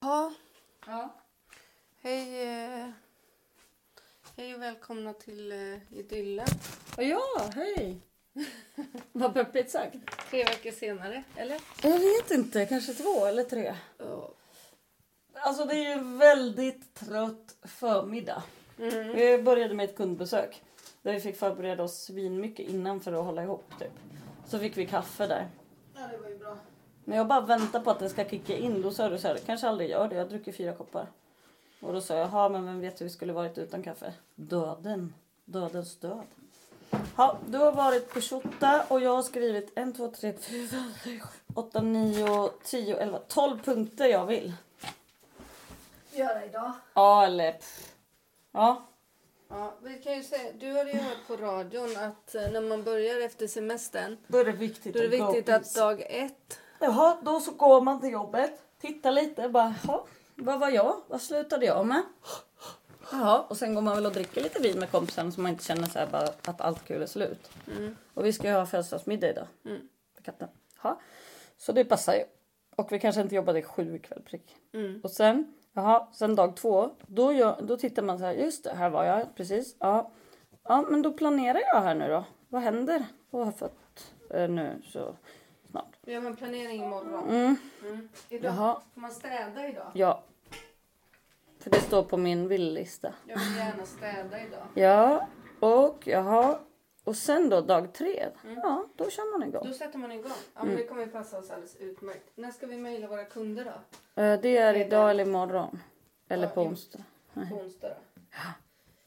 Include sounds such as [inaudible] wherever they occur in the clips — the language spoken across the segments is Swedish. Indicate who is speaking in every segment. Speaker 1: Ja,
Speaker 2: Ja.
Speaker 1: hej. eh, Hej och välkomna till eh, Idyllen.
Speaker 2: Och ja, hej! [laughs] Vad peppigt sagt.
Speaker 1: Tre veckor senare, eller?
Speaker 2: Jag vet inte, kanske två eller tre.
Speaker 1: Ja.
Speaker 2: Alltså det är ju väldigt trött förmiddag.
Speaker 1: Mm.
Speaker 2: Vi började med ett kundbesök. Där vi fick förbereda oss svinmycket innan för att hålla ihop typ. Så fick vi kaffe där.
Speaker 1: Ja, det var ju bra.
Speaker 2: När jag bara väntar på att den ska kicka in då sa du så här, "Det kanske aldrig gör det, jag dricker fyra koppar. Och då sa jag, jaha men vem vet hur vi skulle varit utan kaffe? Döden. Dödens död. Ja, du har varit på Shotta och jag har skrivit 1, 2, 3, 4, 5, 6, 8, 9, 10, 11, 12 punkter jag vill.
Speaker 1: Göra idag.
Speaker 2: Ja eller pff. Ja,
Speaker 1: Ja, vi kan ju säga, du har ju hört på radion att eh, när man börjar efter semestern
Speaker 2: då är det viktigt
Speaker 1: då är det
Speaker 2: gå
Speaker 1: viktigt
Speaker 2: och
Speaker 1: att
Speaker 2: pissa.
Speaker 1: dag ett...
Speaker 2: Jaha, då så går man till jobbet, tittar lite, bara jaha, vad var jag? Vad slutade jag med? Jaha, och sen går man väl och dricker lite vin med kompisen så man inte känner så här bara att allt kul är slut.
Speaker 1: Mm.
Speaker 2: Och vi ska ju ha födelsedagsmiddag idag
Speaker 1: Mm.
Speaker 2: för katten. Jaha, så det passar ju. Och vi kanske inte jobbar till sju ikväll prick.
Speaker 1: Mm.
Speaker 2: Och sen, jaha, sen dag två, då, gör, då tittar man så här, just det, här var jag precis. Ja. ja, men då planerar jag här nu då. Vad händer? Vad har jag fått eh, nu så snart?
Speaker 1: Vi gör en planering imorgon.
Speaker 2: Mm.
Speaker 1: Mm. Idag.
Speaker 2: Jaha,
Speaker 1: Får man städa idag?
Speaker 2: ja. För det står på min villista.
Speaker 1: Jag vill gärna städa idag.
Speaker 2: Ja, och jaha. Och sen då dag tre.
Speaker 1: Mm.
Speaker 2: Ja, då kör man igång.
Speaker 1: Då sätter man igång. Ja, men Det kommer ju passa oss alldeles utmärkt. När ska vi mejla våra kunder då?
Speaker 2: Eh, Det är
Speaker 1: det-
Speaker 2: idag eller imorgon. Eller
Speaker 1: Ja,
Speaker 2: på
Speaker 1: im-
Speaker 2: onsdag.
Speaker 1: På onsdag då?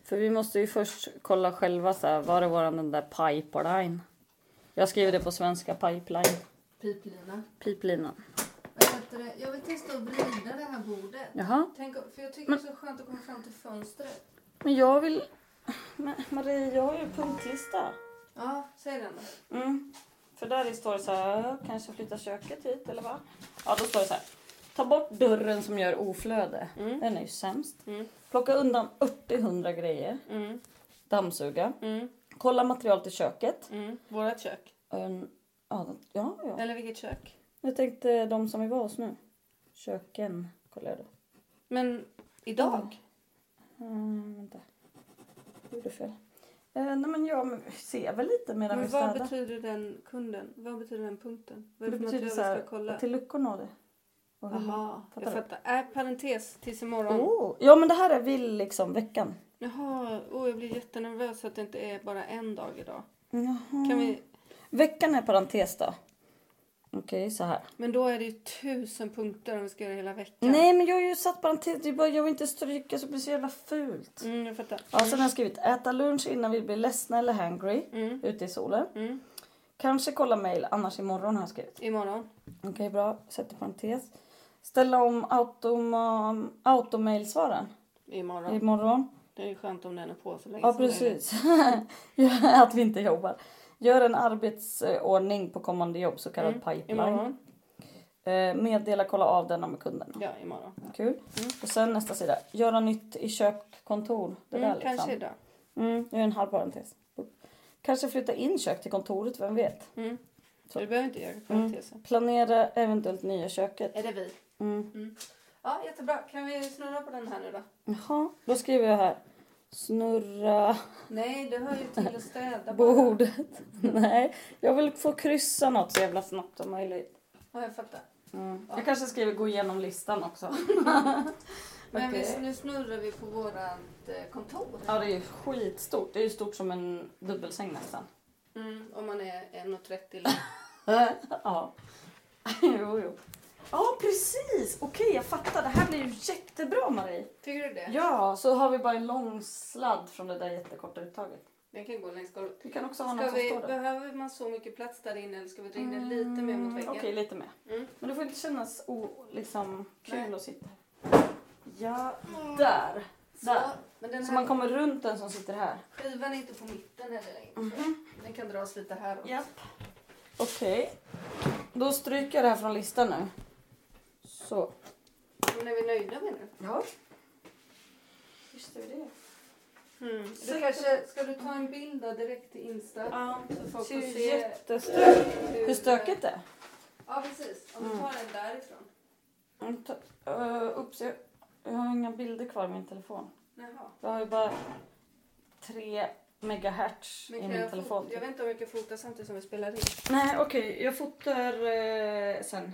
Speaker 2: För vi måste ju först kolla själva så här, var är våran den där pipeline? Jag skriver det på svenska, pipeline.
Speaker 1: Piplina.
Speaker 2: Piplinan.
Speaker 1: Vad heter det? Jag vill testa att vrida det här bordet.
Speaker 2: Jaha,
Speaker 1: Tänk, för jag tycker det är så skönt att komma fram till fönstret.
Speaker 2: men jag vill... Men Marie, jag har ju punktlista.
Speaker 1: Ja, säg den då.
Speaker 2: Mm. För där i står det så här, kanske flytta köket hit eller vad? Ja, då står det så här. Ta bort dörren som gör oflöde.
Speaker 1: Mm.
Speaker 2: Den är ju sämst.
Speaker 1: Mm.
Speaker 2: Plocka undan 80-100 grejer.
Speaker 1: Mm,
Speaker 2: Dammsuga.
Speaker 1: mm,
Speaker 2: Kolla material till köket.
Speaker 1: mm. Vårat kök.
Speaker 2: En, ja, den- ja, ja.
Speaker 1: Eller vilket kök?
Speaker 2: Jag tänkte de som vi var hos nu. Köken kollar jag då.
Speaker 1: Men idag?
Speaker 2: Mm, vänta. Jag gjorde fel. Eh, nej men jag men, vi ser väl lite medan vi
Speaker 1: Men vad
Speaker 2: städar.
Speaker 1: betyder den kunden? Vad betyder den punkten? Vad är
Speaker 2: Det
Speaker 1: det för
Speaker 2: betyder
Speaker 1: material vi
Speaker 2: så här,
Speaker 1: ska kolla?
Speaker 2: till luckorna och det. Och hur-
Speaker 1: Jaha,
Speaker 2: Fattar
Speaker 1: jag
Speaker 2: du?
Speaker 1: fattar. Äh, parentes tills imorgon.
Speaker 2: Oh. Ja men det här är vill liksom veckan.
Speaker 1: Jaha, oh, jag blir jättenervös att det inte är bara en dag idag.
Speaker 2: Jaha.
Speaker 1: Kan vi...
Speaker 2: Veckan är parentes då. Okej, så här.
Speaker 1: Men då är det ju tusen punkter om vi ska göra hela veckan.
Speaker 2: Nej, men jag har ju satt parentes. Det är bara, jag vill inte stryka så det blir så jävla fult.
Speaker 1: Mm, jag fattar.
Speaker 2: Ja, sen har jag skrivit äta lunch innan vi blir ledsna eller hangry
Speaker 1: Mm,
Speaker 2: ute i solen.
Speaker 1: mm.
Speaker 2: Kanske kolla mail, annars imorgon har jag skrivit.
Speaker 1: Imorgon.
Speaker 2: Okej, bra. Sätter parentes. Ställa om automa- automail-svaren
Speaker 1: Imorgon.
Speaker 2: imorgon.
Speaker 1: Mm. Det är ju skönt om den är på så länge
Speaker 2: Ja,
Speaker 1: som möjligt.
Speaker 2: precis. [laughs] att vi inte jobbar. Gör en arbetsordning på kommande jobb, så kallad
Speaker 1: Mm,
Speaker 2: pipeline.
Speaker 1: Imorgon.
Speaker 2: Eh, meddela, kolla av denna med kunderna.
Speaker 1: Ja, imorgon.
Speaker 2: Kul.
Speaker 1: Mm.
Speaker 2: Och sen nästa sida. Göra nytt i kök, kontor. Det
Speaker 1: Mm,
Speaker 2: där liksom.
Speaker 1: Kanske idag.
Speaker 2: Mm, jag gör en halv parentes. Kanske flytta in kök till kontoret, vem vet?
Speaker 1: Mm.
Speaker 2: Så. Mm.
Speaker 1: Du behöver inte göra parenteser.
Speaker 2: Planera eventuellt nya köket.
Speaker 1: Är det vi?
Speaker 2: Mm.
Speaker 1: Ja, jättebra. Kan vi snurra på den här nu då?
Speaker 2: Jaha, då skriver jag här. Snurra
Speaker 1: Nej, det hör ju till att
Speaker 2: [laughs]
Speaker 1: städa bara.
Speaker 2: bordet. Nej, jag vill få kryssa något så jävla snabbt som möjligt.
Speaker 1: Ja, jag
Speaker 2: [laughs]
Speaker 1: fattar.
Speaker 2: Mm. Jag kanske skriver gå igenom listan också.
Speaker 1: Men
Speaker 2: Okej.
Speaker 1: vi, nu snurrar vi på vårat eh, kontor.
Speaker 2: Ja, det är ju skitstort. Det är ju stort som en dubbelsäng nästan.
Speaker 1: Mm, om man är 1,30
Speaker 2: [laughs]
Speaker 1: lång.
Speaker 2: ja. [laughs] jo, jo. Ja, precis! Okej, jag fattar. Det här blir ju jättebra, Marie.
Speaker 1: Tycker du det?
Speaker 2: Ja, så har vi bara en lång sladd från det där jättekorta uttaget.
Speaker 1: Den kan gå längs golvet.
Speaker 2: Vi kan också ha
Speaker 1: Ska
Speaker 2: något
Speaker 1: vi,
Speaker 2: som står där.
Speaker 1: behöver man så mycket plats där inne eller ska vi dra in den lite mer mot väggen?
Speaker 2: Okej, lite mer.
Speaker 1: Mm.
Speaker 2: Men det får inte kännas o, liksom, kul
Speaker 1: Nej.
Speaker 2: att sitta här. Ja, där. Där.
Speaker 1: Så, men den
Speaker 2: Så
Speaker 1: här
Speaker 2: man kommer runt den som sitter här.
Speaker 1: skivan är inte på mitten heller längre. Den kan dras lite här också.
Speaker 2: Japp. Okej. Då stryker jag det här från listan nu. Så.
Speaker 1: Men är vi nöjda med det?
Speaker 2: Ja. Visst är det.
Speaker 1: Mm. Du kanske, ska du ta en bild då direkt till Insta?
Speaker 2: Ja,
Speaker 1: Så folk
Speaker 2: ser
Speaker 1: får
Speaker 2: ju
Speaker 1: se
Speaker 2: jättestökigt.
Speaker 1: hur, Mm.
Speaker 2: Hur stökigt det är.
Speaker 1: Ja precis, om du tar den därifrån.
Speaker 2: Mm, ta- eh, Ups, jag, jag har inga bilder kvar i min telefon.
Speaker 1: Jaha.
Speaker 2: Jag har ju bara 3 megahertz
Speaker 1: Men
Speaker 2: i
Speaker 1: kan
Speaker 2: min
Speaker 1: jag,
Speaker 2: telefon.
Speaker 1: fot- jag vet inte om jag kan fota samtidigt som vi spelar in.
Speaker 2: Nej okej, jag fotar eh, sen.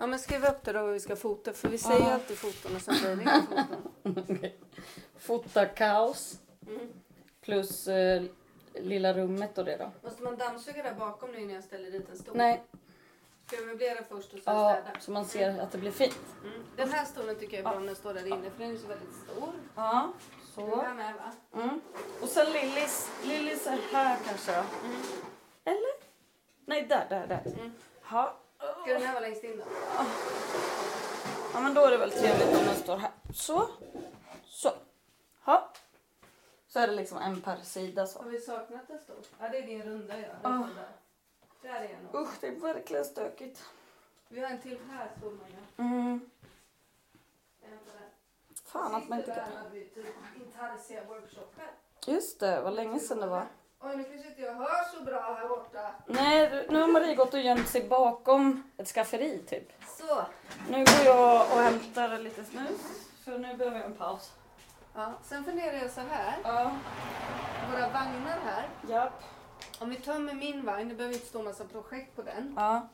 Speaker 1: Ja men skriv upp det då vad vi ska fota för vi säger
Speaker 2: Ja.
Speaker 1: alltid foton och sen blir det inga foton.
Speaker 2: Fota kaos
Speaker 1: Mm.
Speaker 2: plus eh, lilla rummet och det då.
Speaker 1: Måste man dammsuga där bakom nu innan jag ställer dit en stol?
Speaker 2: Nej,
Speaker 1: Ska jag möblera först och sen
Speaker 2: ja,
Speaker 1: städa?
Speaker 2: så man ser att det blir fint.
Speaker 1: Mm. Den här stolen tycker jag är bra
Speaker 2: Ja.
Speaker 1: om den står där inne för den är ju så väldigt stor.
Speaker 2: Ja,
Speaker 1: Den
Speaker 2: så.
Speaker 1: här med va?
Speaker 2: Mm. Och sen Lillis, Lillis är här kanske då.
Speaker 1: Mm.
Speaker 2: Eller? Nej, där, där, där.
Speaker 1: Mm.
Speaker 2: Ja.
Speaker 1: Ska den här vara längst in då?
Speaker 2: ja, men då är det väl trevligt om den står här. Så. Så. Ja. Så är det liksom en per sida så.
Speaker 1: Har vi saknat en stol? Ja det är din runda ja. Den
Speaker 2: Ah.
Speaker 1: står där. där är en.
Speaker 2: Usch, det är verkligen stökigt.
Speaker 1: Vi har en till här stol Maja.
Speaker 2: Mm.
Speaker 1: En på där.
Speaker 2: Fan att man inte
Speaker 1: Sist
Speaker 2: kan...
Speaker 1: där hade vi typ intarsia-workshopen.
Speaker 2: Just det, vad länge sedan det var.
Speaker 1: Oj nu kanske inte jag hör så bra här borta.
Speaker 2: Nej, du- nu har Marie gått och gömt sig bakom ett skafferi typ.
Speaker 1: Så.
Speaker 2: Nu går jag och hämtar lite snus. För nu behöver jag en paus.
Speaker 1: Ja, sen funderar jag så här.
Speaker 2: Ja.
Speaker 1: Våra vagnar här.
Speaker 2: Japp.
Speaker 1: Om vi tömmer min vagn, det behöver inte stå massa projekt på den.
Speaker 2: Ja.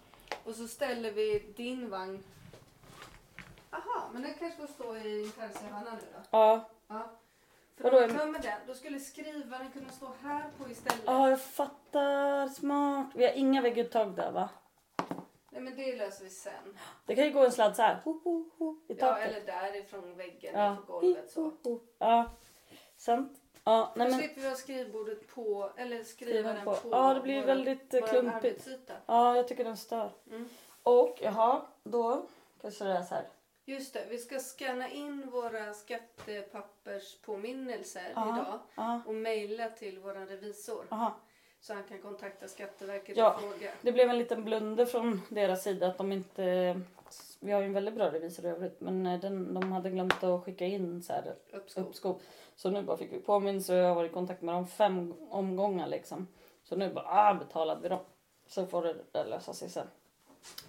Speaker 1: Och så ställer vi din vagn. Aha, men den kanske får stå i Karlshamn nu då.
Speaker 2: Ja.
Speaker 1: Ja. För
Speaker 2: Vadå,
Speaker 1: om vi
Speaker 2: är-
Speaker 1: tömmer den, då skulle skrivaren kunna stå här på istället.
Speaker 2: Ja, jag fattar. Smart. Vi har inga vägguttag där va?
Speaker 1: Nej men det löser vi sen.
Speaker 2: Det kan ju gå en sladd så här. Ho, ho, ho, I
Speaker 1: Ja,
Speaker 2: taket.
Speaker 1: eller därifrån väggen,
Speaker 2: Ja.
Speaker 1: ja. på golvet så.
Speaker 2: Ho, ho, ho. Ja. Sant. Ja, nej
Speaker 1: Då
Speaker 2: men.
Speaker 1: slipper vi ha skrivbordet på, eller skrivaren på.
Speaker 2: på. Ja, det blir
Speaker 1: vår-
Speaker 2: väldigt, eh,
Speaker 1: vår
Speaker 2: klumpigt.
Speaker 1: arbetsyta.
Speaker 2: Ja, jag tycker den stör.
Speaker 1: Mm.
Speaker 2: Och jaha, då kanske det är så här.
Speaker 1: Just det, vi ska scanna in våra skattepapperspåminnelser
Speaker 2: Ja.
Speaker 1: idag
Speaker 2: Ja.
Speaker 1: och mejla till vår revisor
Speaker 2: Aha.
Speaker 1: så han kan kontakta Skatteverket
Speaker 2: Ja.
Speaker 1: och fråga.
Speaker 2: Det blev en liten blunder från deras sida att de inte... Vi har ju en väldigt bra revisor i övrigt men eh, den, de hade glömt att skicka in så här
Speaker 1: Uppskov.
Speaker 2: uppskov. Så nu bara fick vi påminnelse och jag har varit i kontakt med dem fem omgångar liksom. Så nu bara ah, betalade vi dem. Så får det där lösa sig sen.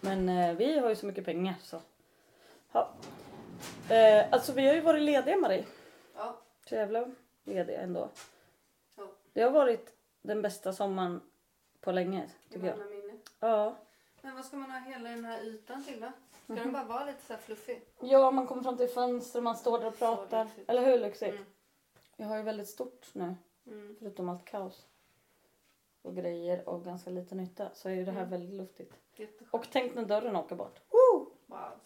Speaker 2: Men eh, vi har ju så mycket pengar så. Ja. Eh, alltså vi har ju varit lediga Marie.
Speaker 1: Ja.
Speaker 2: Så jävla lediga ändå.
Speaker 1: Ja.
Speaker 2: Det har varit den bästa sommaren på länge
Speaker 1: I
Speaker 2: tycker jag.
Speaker 1: manna minne.
Speaker 2: Ja.
Speaker 1: Men vad ska man ha hela den här ytan till då? Ska
Speaker 2: Mhm.
Speaker 1: den bara vara lite så här fluffig?
Speaker 2: Ja, man kommer fram till fönster, man står där och
Speaker 1: Så
Speaker 2: pratar.
Speaker 1: lyxigt.
Speaker 2: Eller hur lyxigt?
Speaker 1: Mm.
Speaker 2: Jag har ju väldigt stort nu,
Speaker 1: Mm.
Speaker 2: förutom allt kaos. Och grejer och ganska lite nytta. Så är ju det här
Speaker 1: Mm.
Speaker 2: väldigt luftigt.
Speaker 1: Jätteskönt.
Speaker 2: Och tänk när dörren åker bort.
Speaker 1: Wow.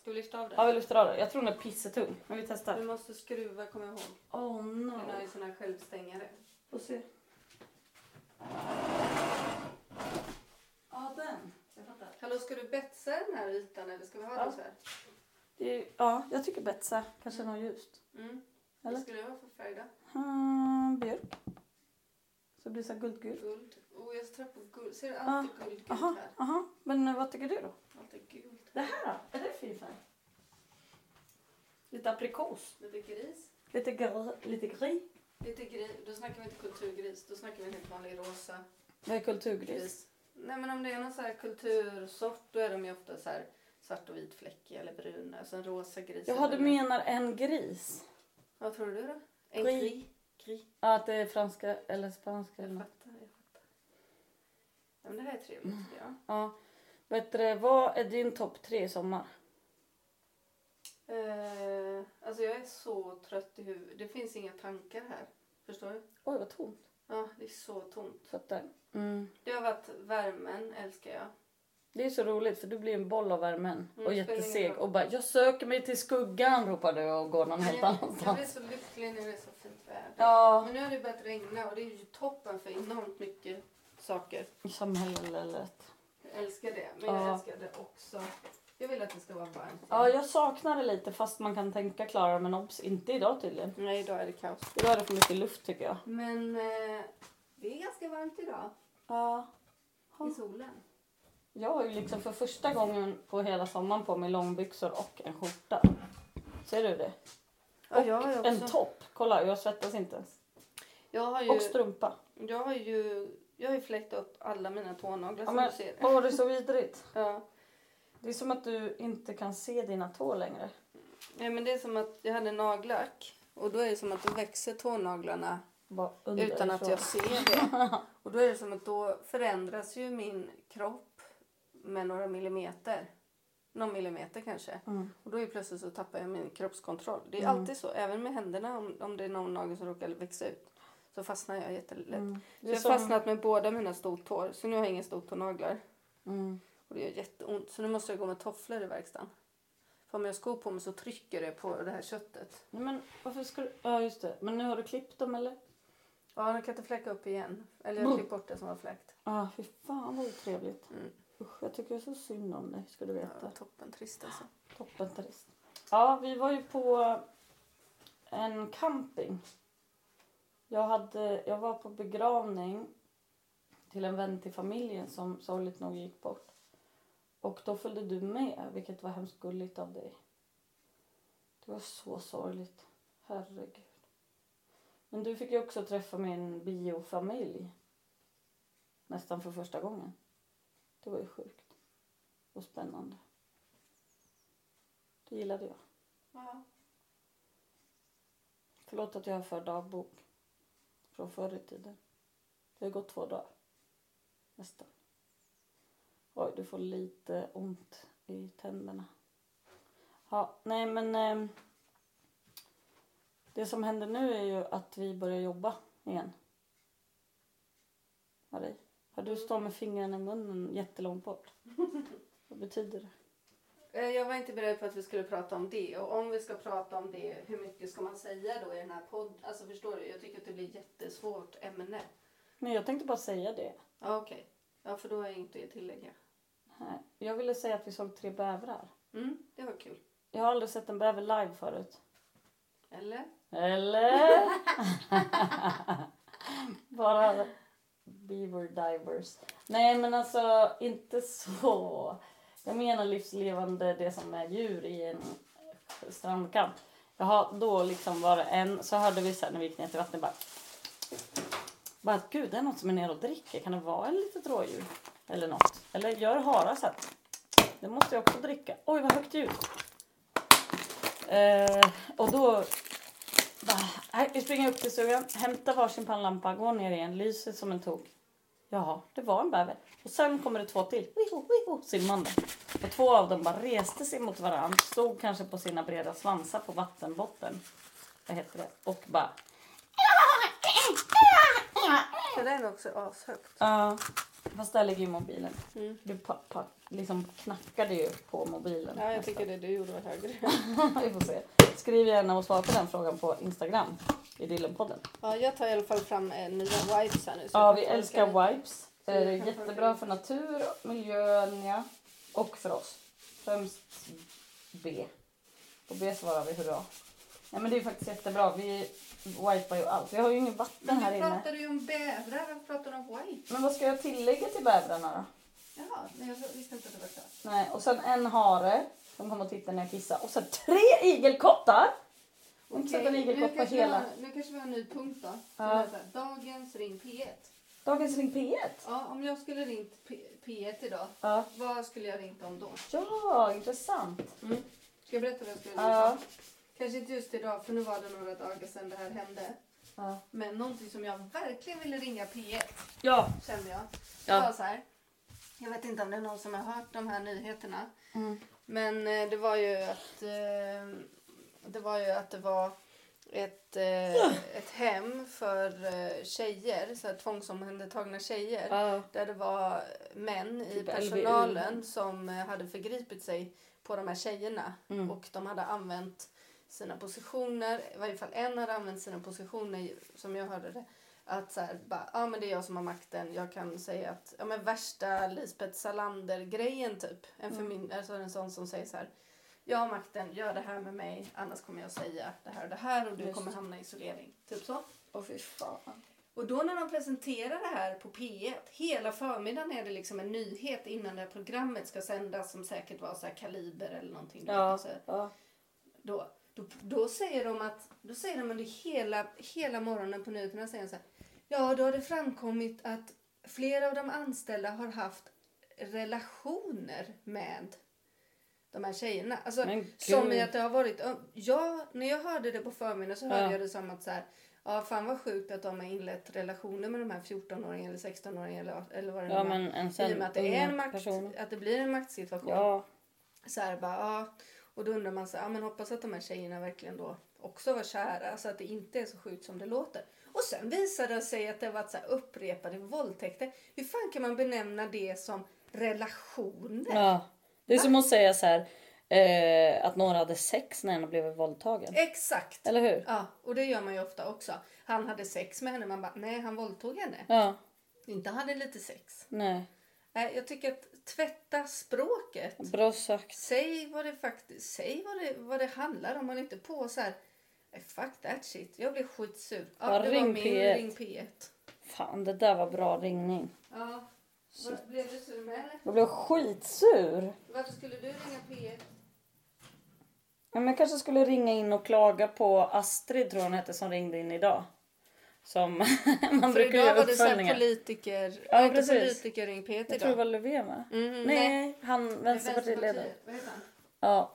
Speaker 1: Ska vi lyfta av den?
Speaker 2: Ja, vi lyfter av den. Jag tror den är pissetung. Men vi
Speaker 1: Vi
Speaker 2: testar.
Speaker 1: måste skruva, kommer jag ihåg.
Speaker 2: Oh no.
Speaker 1: Den har ju sån här självstängare.
Speaker 2: Får se. Ja, den. Jag fattar.
Speaker 1: Hallå, ska du betsa den här ytan eller ska vi ha
Speaker 2: Ja.
Speaker 1: den så här?
Speaker 2: Det är, ju- ja, jag tycker Betsa. Kanske något ljust.
Speaker 1: Mm.
Speaker 2: Eller?
Speaker 1: Vad skulle det vara för färg då?
Speaker 2: Hmm, björk. Så det blir så här guldgult.
Speaker 1: Guld. Oh, jag tror på guld. Ser du
Speaker 2: Ja.
Speaker 1: alltid guldgult
Speaker 2: Ah, Aha,
Speaker 1: här?
Speaker 2: aha. Men eh, vad tycker du då?
Speaker 1: Allt är gult.
Speaker 2: Det här då? Är det fin färg? Lite aprikos.
Speaker 1: Lite gris.
Speaker 2: Lite, gr- lite gris.
Speaker 1: Lite gris. Då snackar vi inte kulturgris. Då snackar vi en helt vanlig rosa
Speaker 2: Vad är kulturgris?
Speaker 1: gris. Nej men om det är någon så här kultursort då är de ju ofta så här svart och vit fläckig eller brun. Alltså en rosa gris.
Speaker 2: Jaha,
Speaker 1: eller-
Speaker 2: du menar en gris?
Speaker 1: Vad tror du då? En
Speaker 2: Gris.
Speaker 1: gris. Gris.
Speaker 2: Ja, att det är franska eller spanska eller
Speaker 1: Jag
Speaker 2: något.
Speaker 1: fattar, jag fattar. Ja, men det här är trevligt
Speaker 2: Mm.
Speaker 1: tycker jag.
Speaker 2: Ja. Bättre, vad är din topp tre i sommar?
Speaker 1: Eh, alltså jag är så trött i huvudet. Det finns inga tankar här. Förstår du?
Speaker 2: Oj, vad tomt.
Speaker 1: Ja, det är så tomt.
Speaker 2: Fattar. Mm.
Speaker 1: Det har varit värmen, älskar jag.
Speaker 2: Det är så roligt för du blir en boll av värmen
Speaker 1: Mm,
Speaker 2: och
Speaker 1: spelar ingen
Speaker 2: jätteseg
Speaker 1: roll.
Speaker 2: och bara jag söker mig till skuggan ropar du och går någon helt
Speaker 1: Jag [laughs]
Speaker 2: annanstans.
Speaker 1: blir så lycklig när det är så fint väder.
Speaker 2: Ja.
Speaker 1: Men nu har det börjat regna och det är ju toppen för enormt mycket saker.
Speaker 2: Samhället.
Speaker 1: Jag älskar det, men jag
Speaker 2: Ja.
Speaker 1: älskar det också. Jag vill att det ska vara varmt.
Speaker 2: Ja, jag saknar det lite fast man kan tänka Klara men obs, inte idag tydligen.
Speaker 1: Nej, idag är det kaos.
Speaker 2: Idag är det för mycket luft tycker jag.
Speaker 1: Men eh, det är ganska varmt idag
Speaker 2: Ja.
Speaker 1: i solen.
Speaker 2: Jag har ju liksom för första gången på hela sommaren på mig långbyxor och en skjorta. Ser du det?
Speaker 1: Ja, jag har ju
Speaker 2: En topp! Kolla, jag svettas inte ens.
Speaker 1: Jag har
Speaker 2: Och
Speaker 1: ju,
Speaker 2: strumpa.
Speaker 1: jag har ju, jag har ju fläkt upp alla mina tånaglar
Speaker 2: Ja,
Speaker 1: som
Speaker 2: men-
Speaker 1: du ser.
Speaker 2: Åh, det är så vidrigt.
Speaker 1: Ja.
Speaker 2: Det är som att du inte kan se dina tår längre.
Speaker 1: Nej, men det är som att jag hade nagellack och då är det som att då växer tånaglarna
Speaker 2: Bara
Speaker 1: utan att
Speaker 2: underifrån.
Speaker 1: jag ser
Speaker 2: [laughs]
Speaker 1: det. Och då är det som att då förändras ju min kropp med några millimeter. Någon millimeter kanske.
Speaker 2: Mm.
Speaker 1: Och då är plötsligt så tappar jag min kroppskontroll. Det är
Speaker 2: Mm.
Speaker 1: alltid så, även med händerna om, om det är någon nagel som råkar växa ut. Så fastnar jag jättelätt.
Speaker 2: Mm.
Speaker 1: Så
Speaker 2: Det är
Speaker 1: jag har
Speaker 2: som-
Speaker 1: fastnat med båda mina stortår så nu har jag inga stortånaglar.
Speaker 2: Mm.
Speaker 1: Och det gör jätteont så nu måste jag gå med tofflor i verkstaden. För om jag har skor på mig så trycker det på det här köttet.
Speaker 2: Nej, men varför ska du... Ja, just det. Men nu har du klippt dem, eller?
Speaker 1: Ja, nu kan jag inte fläcka upp igen. Eller
Speaker 2: Mm.
Speaker 1: jag har klippt bort det som var fläkt.
Speaker 2: Ja, Ah, fy fan vad otrevligt.
Speaker 1: Mm.
Speaker 2: Usch, jag tycker så synd om dig, ska du
Speaker 1: Ja,
Speaker 2: veta.
Speaker 1: toppen trist alltså.
Speaker 2: Toppen trist. Ja, vi var ju på en camping. Jag, hade, jag var på begravning till en vän till familjen som sorgligt nog gick bort. Och då följde du med, vilket var hemskt gulligt av dig. Det var så sorgligt. Herregud. Men du fick ju också träffa min biofamilj. Nästan för första gången. Det var ju sjukt. Och spännande. Det gillade jag. Förlåt att jag har för dagbok från förr i tiden. Det har gått två dagar. Nästan. Oj, du får lite ont i tänderna. Ja, nej men... ehm, det som händer nu är ju att vi börjar jobba igen. Marie, har du stått med fingrarna i munnen jättelångt bort? Vad betyder det?
Speaker 1: Eh, Jag var inte beredd på att vi skulle prata om det. Och om vi ska prata om det, hur mycket ska man säga då i den här podden? Alltså förstår du, jag tycker att det blir ett jättesvårt ämne.
Speaker 2: Nej, jag tänkte bara säga det.
Speaker 1: Ja, okej. Ja, för då har jag inte att tillägga.
Speaker 2: Nej, Jag ville säga att vi såg tre bävrar.
Speaker 1: Mm, det var kul.
Speaker 2: Jag har aldrig sett en bäver live förut.
Speaker 1: Eller?
Speaker 2: Eller? Bara beaver divers. Nej men alltså inte så. Jag menar livslevande det som är djur i en strandkant. Jaha, då liksom var det en, så hörde vi sen när vi gick ner till vattnet bara. Bara att gud det är något som är nere och dricker. Kan det vara en litet rådjur? Eller något. Eller gör harar så här. Det måste jag också dricka. Oj vad högt ljud. Eh, och då bara, nej, vi springer upp till stugan, hämtar varsin pannlampa, går ner igen, lyser som en tok. Jaha, det var en bäver. Och sen kommer det två till, wiho, wiho, simmande. Och två av dem bara reste sig mot varandra, stod kanske på sina breda svansar på vattenbotten. Vad heter det? Och bara...
Speaker 1: Det där är också ashögt.
Speaker 2: Ja, fast där ligger ju mobilen.
Speaker 1: Mm.
Speaker 2: Du pa, pa, liksom knackade ju på mobilen.
Speaker 1: Ja, jag
Speaker 2: nästan.
Speaker 1: tycker det du gjorde var högre.
Speaker 2: [laughs] Vi får se. Skriv gärna och svara på den frågan på Instagram i Dillenpodden.
Speaker 1: Ja, jag tar i alla fall fram eh, nya wipes här nu. så
Speaker 2: Ja,
Speaker 1: jag
Speaker 2: vi
Speaker 1: kan
Speaker 2: älskar
Speaker 1: torka
Speaker 2: wipes. Eh, Jättebra för natur, miljön ja. och för oss. Främst B. På B svarar vi hurra. Nej, men det är faktiskt jättebra. Vi wipar ju allt. Vi har ju inget vatten
Speaker 1: lite. Men
Speaker 2: här
Speaker 1: du
Speaker 2: inne.
Speaker 1: pratade ju om bävrar, varför pratar du om wipe?
Speaker 2: Men vad ska jag tillägga till bävrarna då?
Speaker 1: Jaha, nej, jag visste inte att det var klart.
Speaker 2: Nej, och sen en hare som kommer och tittar när jag kissar. Och sen tre igelkottar! Och inte sett en
Speaker 1: Okej, nu
Speaker 2: igelkott på
Speaker 1: kanske vi
Speaker 2: hela.
Speaker 1: har- Nu kanske vi har en ny punkt då. Som
Speaker 2: Ja.
Speaker 1: är så här, dagens ring P1.
Speaker 2: Dagens Ring P1.
Speaker 1: Ja, om jag skulle ringt P- P1 idag,
Speaker 2: Ja.
Speaker 1: vad skulle jag ringt om då?
Speaker 2: Ja, intressant.
Speaker 1: Ska jag berätta vad jag skulle ringt
Speaker 2: Mm. Ja.
Speaker 1: om? Kanske inte just idag, för nu var det några dagar sedan det här hände.
Speaker 2: Ja.
Speaker 1: Men någonting som jag verkligen ville ringa P1
Speaker 2: ja.
Speaker 1: kände jag. Det
Speaker 2: Ja.
Speaker 1: var så här. Jag vet inte om det är någon som har hört de här nyheterna.
Speaker 2: Mm.
Speaker 1: Men eh, det var ju att eh, det var ju att det var ett, eh, ett hem för eh, tjejer, så här tvångsomhändertagna tjejer.
Speaker 2: Ja.
Speaker 1: Där det var män i
Speaker 2: Typ LVU.
Speaker 1: personalen som eh, hade förgripit sig på de här tjejerna.
Speaker 2: Mm.
Speaker 1: Och de hade använt sina positioner, i varje fall en hade använt sina positioner som jag hörde det. Att så här, bara, ja men det är jag som har makten, jag kan säga att, ja men värsta Lisbeth Salander-grejen typ. En,
Speaker 2: Mm.
Speaker 1: förmynd- alltså en sån som säger så här, jag har makten, gör det här med mig, annars kommer jag säga det här och det här och du
Speaker 2: Just.
Speaker 1: kommer hamna i isolering. Typ så.
Speaker 2: Åh fy fan.
Speaker 1: Och då när de presenterar det här på P1, hela förmiddagen är det liksom en nyhet innan det här programmet ska sändas som säkert var så här kaliber eller någonting. du vet, alltså
Speaker 2: Ja.
Speaker 1: så här.
Speaker 2: ja.
Speaker 1: Då, då, då säger de att, då säger de under hela, hela morgonen på nyheterna säger de så här, ja då har det framkommit att flera av de anställda har haft relationer med de här tjejerna. Alltså,
Speaker 2: Men gud.
Speaker 1: som i att det har varit... Ja, när jag hörde det på förmiddagen så hörde
Speaker 2: Ja.
Speaker 1: jag det som att så här, ja fan vad sjukt att de har inlett relationer med de här 14-åringarna eller 16-åringarna eller, eller vad det nu
Speaker 2: Ja
Speaker 1: var.
Speaker 2: men en
Speaker 1: I och
Speaker 2: sen
Speaker 1: med att det, är en
Speaker 2: unga
Speaker 1: makt,
Speaker 2: personer.
Speaker 1: att det blir en maktsituation.
Speaker 2: Ja,
Speaker 1: Så här, bara, ja. Och då undrar man så här, ja, men hoppas att de här tjejerna verkligen då också var kära så att det inte är så sjukt som det låter. Och sen visade det sig att det var så här upprepade våldtäkter. Hur fan kan man benämna det som relationer?
Speaker 2: ja. Det är som att säga så här, eh, att några hade sex när en blev våldtagen.
Speaker 1: Exakt!
Speaker 2: Eller hur?
Speaker 1: Ja, och det gör man ju ofta också. Han hade sex med henne, man bara nej han våldtog henne.
Speaker 2: Ja,
Speaker 1: Inte hade lite sex.
Speaker 2: nej.
Speaker 1: Nej, jag tycker att tvätta språket.
Speaker 2: Bra sagt.
Speaker 1: Säg vad det faktiskt, säg vad det, vad det handlar om. Man är inte på så här, "Eh, fuck that shit. Jag blir skitsur. Ja,
Speaker 2: Ja,
Speaker 1: det
Speaker 2: ring
Speaker 1: var min
Speaker 2: P1.
Speaker 1: ring P1.
Speaker 2: Fan det där var bra ringning.
Speaker 1: Ja, vad, blev du sur med eller?
Speaker 2: Jag blev skitsur.
Speaker 1: Varför skulle du ringa P1?
Speaker 2: Ja, men jag kanske skulle ringa in och klaga på Astrid tror jag hon hette som ringde in idag. Som [laughs]
Speaker 1: För
Speaker 2: man brukar
Speaker 1: idag
Speaker 2: göra
Speaker 1: var det så här
Speaker 2: uppföljningar.
Speaker 1: politiker,
Speaker 2: Ja,
Speaker 1: ja, inte
Speaker 2: precis.
Speaker 1: politiker ring P1
Speaker 2: Jag tror det
Speaker 1: idag.
Speaker 2: var Löfven va?
Speaker 1: Mm,
Speaker 2: nej, han vänsterpartiledare.
Speaker 1: Vad heter han?
Speaker 2: Ja.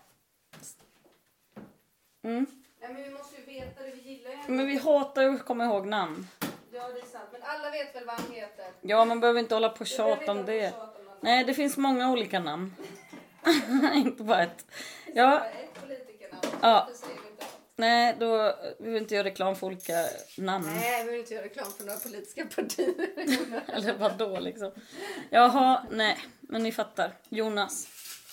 Speaker 2: Mm.
Speaker 1: Nej, men vi måste ju veta det, vi gillar ju
Speaker 2: Men vi hatar ju att komma ihåg namn.
Speaker 1: Ja, det är sant. Men alla vet väl vad han heter?
Speaker 2: Ja man behöver inte hålla på och
Speaker 1: Vi behöver
Speaker 2: tjata
Speaker 1: inte
Speaker 2: om
Speaker 1: hålla på
Speaker 2: det.
Speaker 1: och tjata om någon.
Speaker 2: Nej det finns många olika namn. [laughs] inte bara ett. Ja,
Speaker 1: Bara ett politikernamn.
Speaker 2: Ja.
Speaker 1: Varför säger vi inte allt?
Speaker 2: nej då vi vill inte göra reklam för olika namn.
Speaker 1: Nej, vi vill inte göra reklam för några politiska [laughs] partier.
Speaker 2: Eller vadå liksom? Jaha, nej. Men ni fattar. Jonas.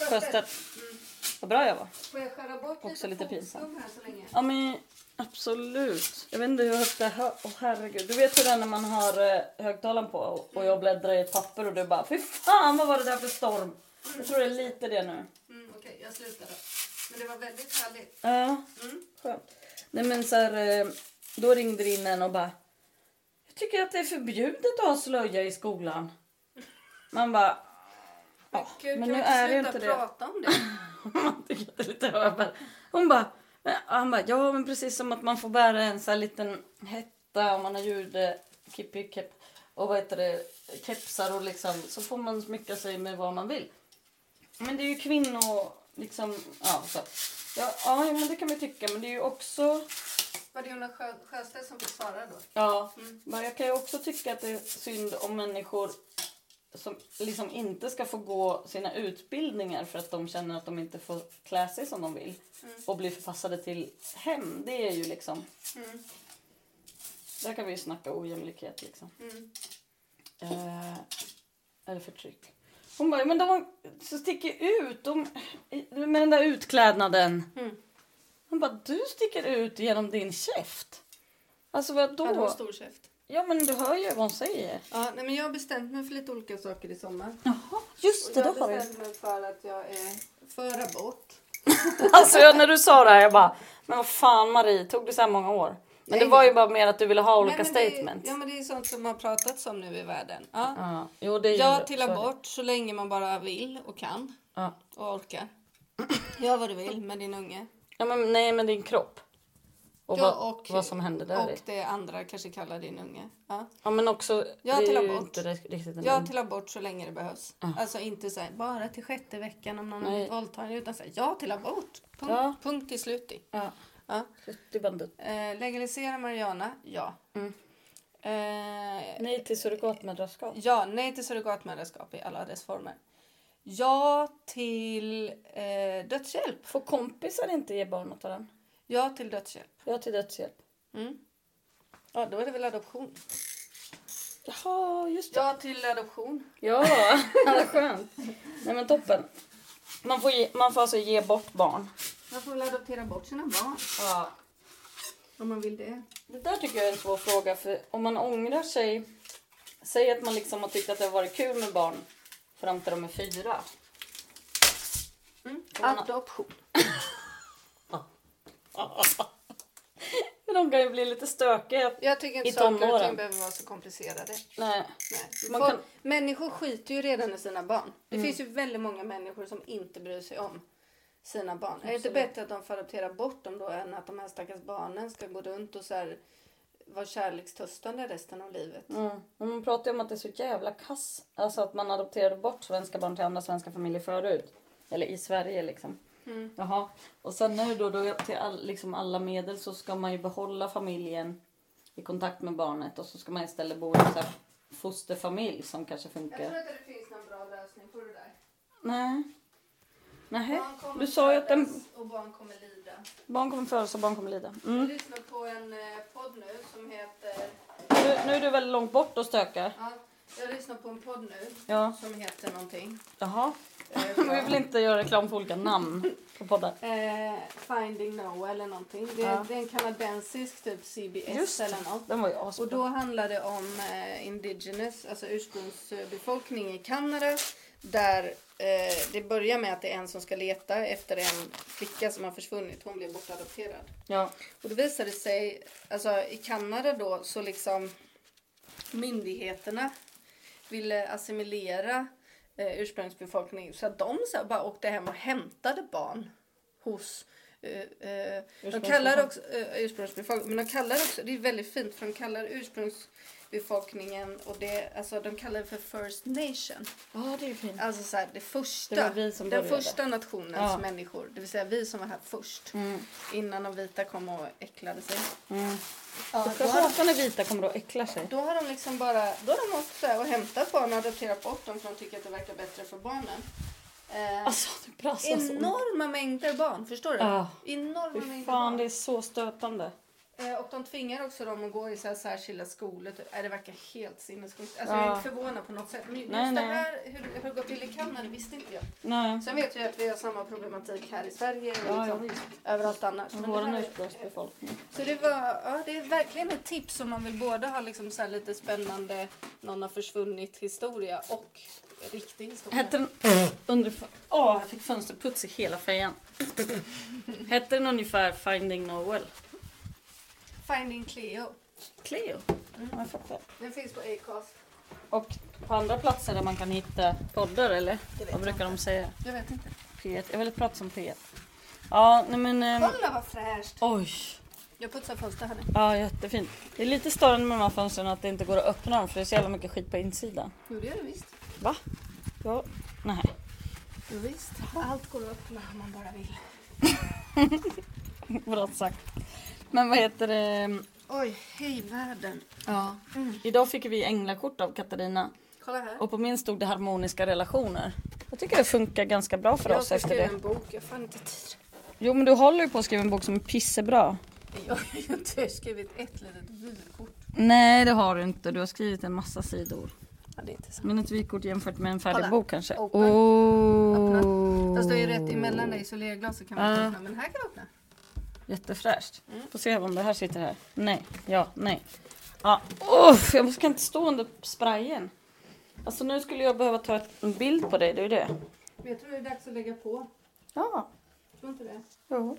Speaker 2: Sjöstedt. Mm. Vad bra jag var.
Speaker 1: Får jag skära bort
Speaker 2: Också lite
Speaker 1: fotskum
Speaker 2: pinsamt.
Speaker 1: här så länge?
Speaker 2: Ja men absolut. Jag vet inte hur högt det här... Åh herregud. Du vet hur det är när man har eh, högtalaren på och- och jag bläddrar i ett papper och du bara Fy fan vad var det där för storm? Jag tror det är lite det nu.
Speaker 1: Mm, Okej, jag slutar då. Men det var väldigt härligt.
Speaker 2: Ja, Mm. skönt. Nej men så här, eh, då ringde det in en och bara Jag tycker att det är förbjudet att ha slöja i skolan. Man bara [laughs] Ja,
Speaker 1: Gud,
Speaker 2: men
Speaker 1: kan vi
Speaker 2: nu
Speaker 1: inte
Speaker 2: är det
Speaker 1: sluta
Speaker 2: inte det.
Speaker 1: prata om det? [clears throat]
Speaker 2: Man tycker att det är lite över. Hon bara, men- han bara, ja men precis som att man får bära en sån här liten hetta om man har jude, kippi, kepp och vad heter det, kepsar och liksom så får man smycka sig med vad man vill. Men det är ju kvinnor, liksom, ja så. Ja, ja men det kan man ju tycka men det är ju också
Speaker 1: Var det Jonas Sjö, Sjöstedt som fick svara då?
Speaker 2: Ja,
Speaker 1: Mm.
Speaker 2: men jag kan ju också tycka att det är synd om människor som liksom inte ska få gå sina utbildningar för att de känner att de inte får klä sig som de vill och bli förpassade till hem. Det är ju liksom...
Speaker 1: Mm.
Speaker 2: Där kan vi ju snacka ojämlikhet liksom.
Speaker 1: Mm.
Speaker 2: Eh, eller förtryck. Hon bara, men de så sticker ut de, med den där utklädnaden.
Speaker 1: Mm.
Speaker 2: Hon bara, du sticker ut genom din käft. Alltså vadå?
Speaker 1: Hade hon stor käft?
Speaker 2: Ja men du hör ju vad hon säger.
Speaker 1: Ja, nej, men jag har bestämt mig för lite olika saker i sommar.
Speaker 2: Jaha, just
Speaker 1: Och
Speaker 2: det.
Speaker 1: jag
Speaker 2: Då
Speaker 1: har
Speaker 2: har vi.
Speaker 1: bestämt mig för att jag är för abort.
Speaker 2: [laughs] Alltså jag, när du sa det här jag bara, men vad fan Marie, tog det så här många år? Men det
Speaker 1: Nej.
Speaker 2: var ju bara mer att du ville ha olika
Speaker 1: Nej, men det-
Speaker 2: statements.
Speaker 1: Ja, men det är sånt som har pratats om nu i världen. Ja.
Speaker 2: Ja, jo, det är ju-
Speaker 1: Ja till
Speaker 2: så är det.
Speaker 1: abort så länge man bara vill och kan
Speaker 2: Ja.
Speaker 1: och orkar. [clears throat] Gör vad du vill med din unge.
Speaker 2: ja men nej men din kropp. Och,
Speaker 1: Ja,
Speaker 2: vad,
Speaker 1: och-
Speaker 2: vad som hände där.
Speaker 1: Och det andra kanske kallar din unge. Ja.
Speaker 2: Ja men också,
Speaker 1: Ja,
Speaker 2: det
Speaker 1: till
Speaker 2: är ju
Speaker 1: abort.
Speaker 2: inte ri- riktigt en
Speaker 1: ja
Speaker 2: ung-
Speaker 1: till abort så länge det behövs. Alltså inte så här, bara till sjätte veckan om någon har
Speaker 2: Nej.
Speaker 1: blivit våldtagen. Utan så här, ja till abort. Punkt,
Speaker 2: Ja.
Speaker 1: punkt till slut. i.
Speaker 2: ja.
Speaker 1: Ja.
Speaker 2: Det är bandet.
Speaker 1: Eh, legalisera marijuana, ja.
Speaker 2: Mm.
Speaker 1: Eh,
Speaker 2: Nej till surrogatmödraskap.
Speaker 1: ja, nej till surrogatmödraskap i alla dess former. Ja till eh, dödshjälp.
Speaker 2: Får kompisar inte ge barn åt varandra?
Speaker 1: Ja till dödshjälp.
Speaker 2: Ja till dödshjälp.
Speaker 1: Mm. Ja, då är det väl adoption.
Speaker 2: Jaha, just det.
Speaker 1: Ja, till adoption.
Speaker 2: Ja, [laughs] vad skönt. Nej men toppen. Man får, ge, man får alltså ge bort barn.
Speaker 1: Man får väl adoptera bort sina barn
Speaker 2: Ja.
Speaker 1: om man vill det.
Speaker 2: Det där tycker jag är en svår fråga för om man ångrar sig. Säg att man liksom har tyckt att det har varit kul med barn fram till de är fyra.
Speaker 1: Mm. Adoption.
Speaker 2: Men de kan ju bli lite stökiga.
Speaker 1: Jag tycker inte
Speaker 2: I
Speaker 1: saker och
Speaker 2: tonåren.
Speaker 1: ting behöver vara så komplicerade.
Speaker 2: Nej.
Speaker 1: Nej.
Speaker 2: Man
Speaker 1: Folk,
Speaker 2: kan- Mm.
Speaker 1: Människor skiter ju redan i sina barn. Det finns ju väldigt många människor som inte bryr sig om sina barn. Är det inte
Speaker 2: Absolut.
Speaker 1: bättre att de får adoptera bort dem då än att de här stackars barnen ska gå runt och så här vara kärlekstörstande resten av livet?
Speaker 2: Mm. Men man pratar ju om att det är så jävla kass. Alltså att man adopterade bort svenska barn till andra svenska familjer förut. Eller i Sverige liksom.
Speaker 1: Mm.
Speaker 2: Jaha. Och sen nu då, då till all, liksom alla medel så ska man ju behålla familjen i kontakt med barnet och så ska man istället bo i en så här fosterfamilj som kanske funkar.
Speaker 1: inte det finns någon bra lösning på det där.
Speaker 2: Nej. Nej. Du sa ju att den,
Speaker 1: Och barn kommer lida.
Speaker 2: barn kommer födas och barn kommer lida. Mm.
Speaker 1: lyssnar på en eh, podd nu som heter...
Speaker 2: Nu, nu är du väldigt långt bort och stökar.
Speaker 1: Ja, jag lyssnar på en podd nu
Speaker 2: Ja.
Speaker 1: som heter någonting.
Speaker 2: Jaha. [laughs]
Speaker 1: Eh,
Speaker 2: Vi vill inte göra reklam för olika namn på poddar.
Speaker 1: Eh, Finding Noah eller någonting. Det,
Speaker 2: Ja.
Speaker 1: det är en kanadensisk typ CBS
Speaker 2: Just det.
Speaker 1: eller något.
Speaker 2: Den var ju
Speaker 1: Och
Speaker 2: asbra.
Speaker 1: då handlar det om eh, indigenous, alltså ursprungsbefolkning i Kanada. Där eh, det börjar med att det är en som ska leta efter en flicka som har försvunnit. Hon blev bortadopterad.
Speaker 2: Ja.
Speaker 1: Och då visade det sig, alltså i Kanada då så liksom myndigheterna ville assimilera eh, ursprungsbefolkningen så att de så här, bara åkte hem och hämtade barn hos eh, eh, de kallar också eh, ursprungsbefolkningen, men de kallar också, det är väldigt fint för de kallar ursprungsbefolkningen och det, alltså de kallar det för First Nation.
Speaker 2: Ja, det är ju fint.
Speaker 1: Alltså så här, det första,
Speaker 2: Det var vi som
Speaker 1: den
Speaker 2: började.
Speaker 1: första nationens
Speaker 2: Ja.
Speaker 1: människor, det vill säga vi som var här först.
Speaker 2: Mm.
Speaker 1: Innan de vita kom och äcklade sig.
Speaker 2: Mm.
Speaker 1: Ja,
Speaker 2: Jag
Speaker 1: då, har,
Speaker 2: hatar när vita kommer att äckla sig.
Speaker 1: då har de liksom bara, då har de åkt så här och hämtat barn och adopterat bort dem för de tycker att det verkar bättre för barnen. Eh,
Speaker 2: Alltså det brassar så mycket.
Speaker 1: enorma mängder barn, förstår du?
Speaker 2: Ja.
Speaker 1: Enorma
Speaker 2: Fy
Speaker 1: mängder
Speaker 2: fan,
Speaker 1: barn.
Speaker 2: det är så stötande.
Speaker 1: Eh, och de tvingar också dem att gå i så här särskilda skolor. typ. Eh, det verkar helt sinnessjukt. Alltså, Jag är
Speaker 2: Ja.
Speaker 1: inte förvånad på något sätt. Men just
Speaker 2: Nej,
Speaker 1: det
Speaker 2: nej.
Speaker 1: här, hur, hur det går till i Kanada, visste inte jag.
Speaker 2: Nej.
Speaker 1: Sen vet jag att vi har samma problematik här i Sverige och
Speaker 2: Ja, ja,
Speaker 1: liksom,
Speaker 2: visst.
Speaker 1: överallt annars. Men det
Speaker 2: Vår
Speaker 1: här är-
Speaker 2: ursprungsbefolkning.
Speaker 1: Så det, var, ja, det är verkligen ett tips om man vill både ha liksom så här lite spännande, någon har försvunnit historia och riktig historia.
Speaker 2: Hette den... Under... Åh, jag fick fönsterputs i hela fejan. Hette den ungefär Finding Noel?
Speaker 1: Finding Cleo.
Speaker 2: Cleo? Ja, jag fattar.
Speaker 1: Den finns på Acast.
Speaker 2: Och på andra platser där man kan hitta poddar eller?
Speaker 1: Det vet
Speaker 2: Vad brukar de säga?
Speaker 1: Jag vet inte.
Speaker 2: P1. Jag vill prata om P1. Ja, nej men... ehm,
Speaker 1: Kolla vad fräscht!
Speaker 2: Oj!
Speaker 1: Jag putsar fönster här nu.
Speaker 2: Ja, jättefint. Det är lite störande med de här fönstren att det inte går att öppna dem för det är så jävla mycket skit på insidan.
Speaker 1: Jo det gör det visst.
Speaker 2: Va? Ja. Nej. [laughs]
Speaker 1: Jo, visst. Allt går att öppna om man bara vill.
Speaker 2: Bra sagt. Men vad heter det?
Speaker 1: Oj, hej världen.
Speaker 2: Ja. Idag fick vi änglakort av Katarina
Speaker 1: Kolla här.
Speaker 2: och på min stod det harmoniska relationer. Jag tycker det funkar ganska bra för
Speaker 1: jag
Speaker 2: oss
Speaker 1: ska
Speaker 2: efter
Speaker 1: skriva
Speaker 2: det.
Speaker 1: en bok, jag har fan inte tid.
Speaker 2: Jo men du håller ju på att skriva en bok som är pissebra.
Speaker 1: Jag har ju inte skrivit ett litet vykort.
Speaker 2: Nej det har du inte, du har skrivit en massa sidor.
Speaker 1: Ja, det är inte sant.
Speaker 2: Men ett vykort jämfört med en färdig
Speaker 1: Kolla.
Speaker 2: bok kanske.
Speaker 1: Open. Öppna.
Speaker 2: Oh.
Speaker 1: Fast det är ju rätt emellan dig isolerglaset kan man inte
Speaker 2: Ah.
Speaker 1: öppna, men här kan vi öppna.
Speaker 2: Jättefräscht.
Speaker 1: Mm.
Speaker 2: Får se om det här sitter här. Nej, ja, nej. Ja. Uff, jag kan inte stå under sprayen. Alltså nu skulle jag behöva ta ett, en bild på dig, det är ju det.
Speaker 1: Vet du vad det är dags att lägga på?
Speaker 2: Ja.
Speaker 1: Tror inte det?
Speaker 2: Jo.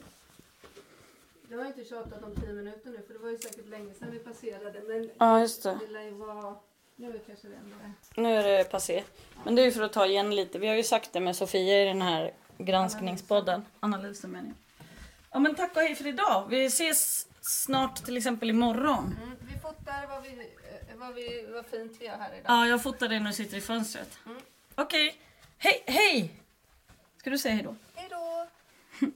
Speaker 1: Jag har inte tjatat om 10 minuter nu för det var ju säkert länge sedan vi passerade men
Speaker 2: Ja, just det.
Speaker 1: det lär ju vara... Nu är det kanske det ändå är.
Speaker 2: Nu är det passé. Men det är ju för att ta igen lite. Vi har ju sagt det med Sofia i den här granskningspodden. Analysen menar jag. Ja men tack och hej för idag. Vi ses snart till exempel imorgon.
Speaker 1: Mm, vi fotar vad, vi, eh, vad, vi, vad fint vi gör här idag.
Speaker 2: Ja, jag fotar dig när du sitter i fönstret. Okej. Hej, hej! Ska du säga hej då?
Speaker 1: Hej då!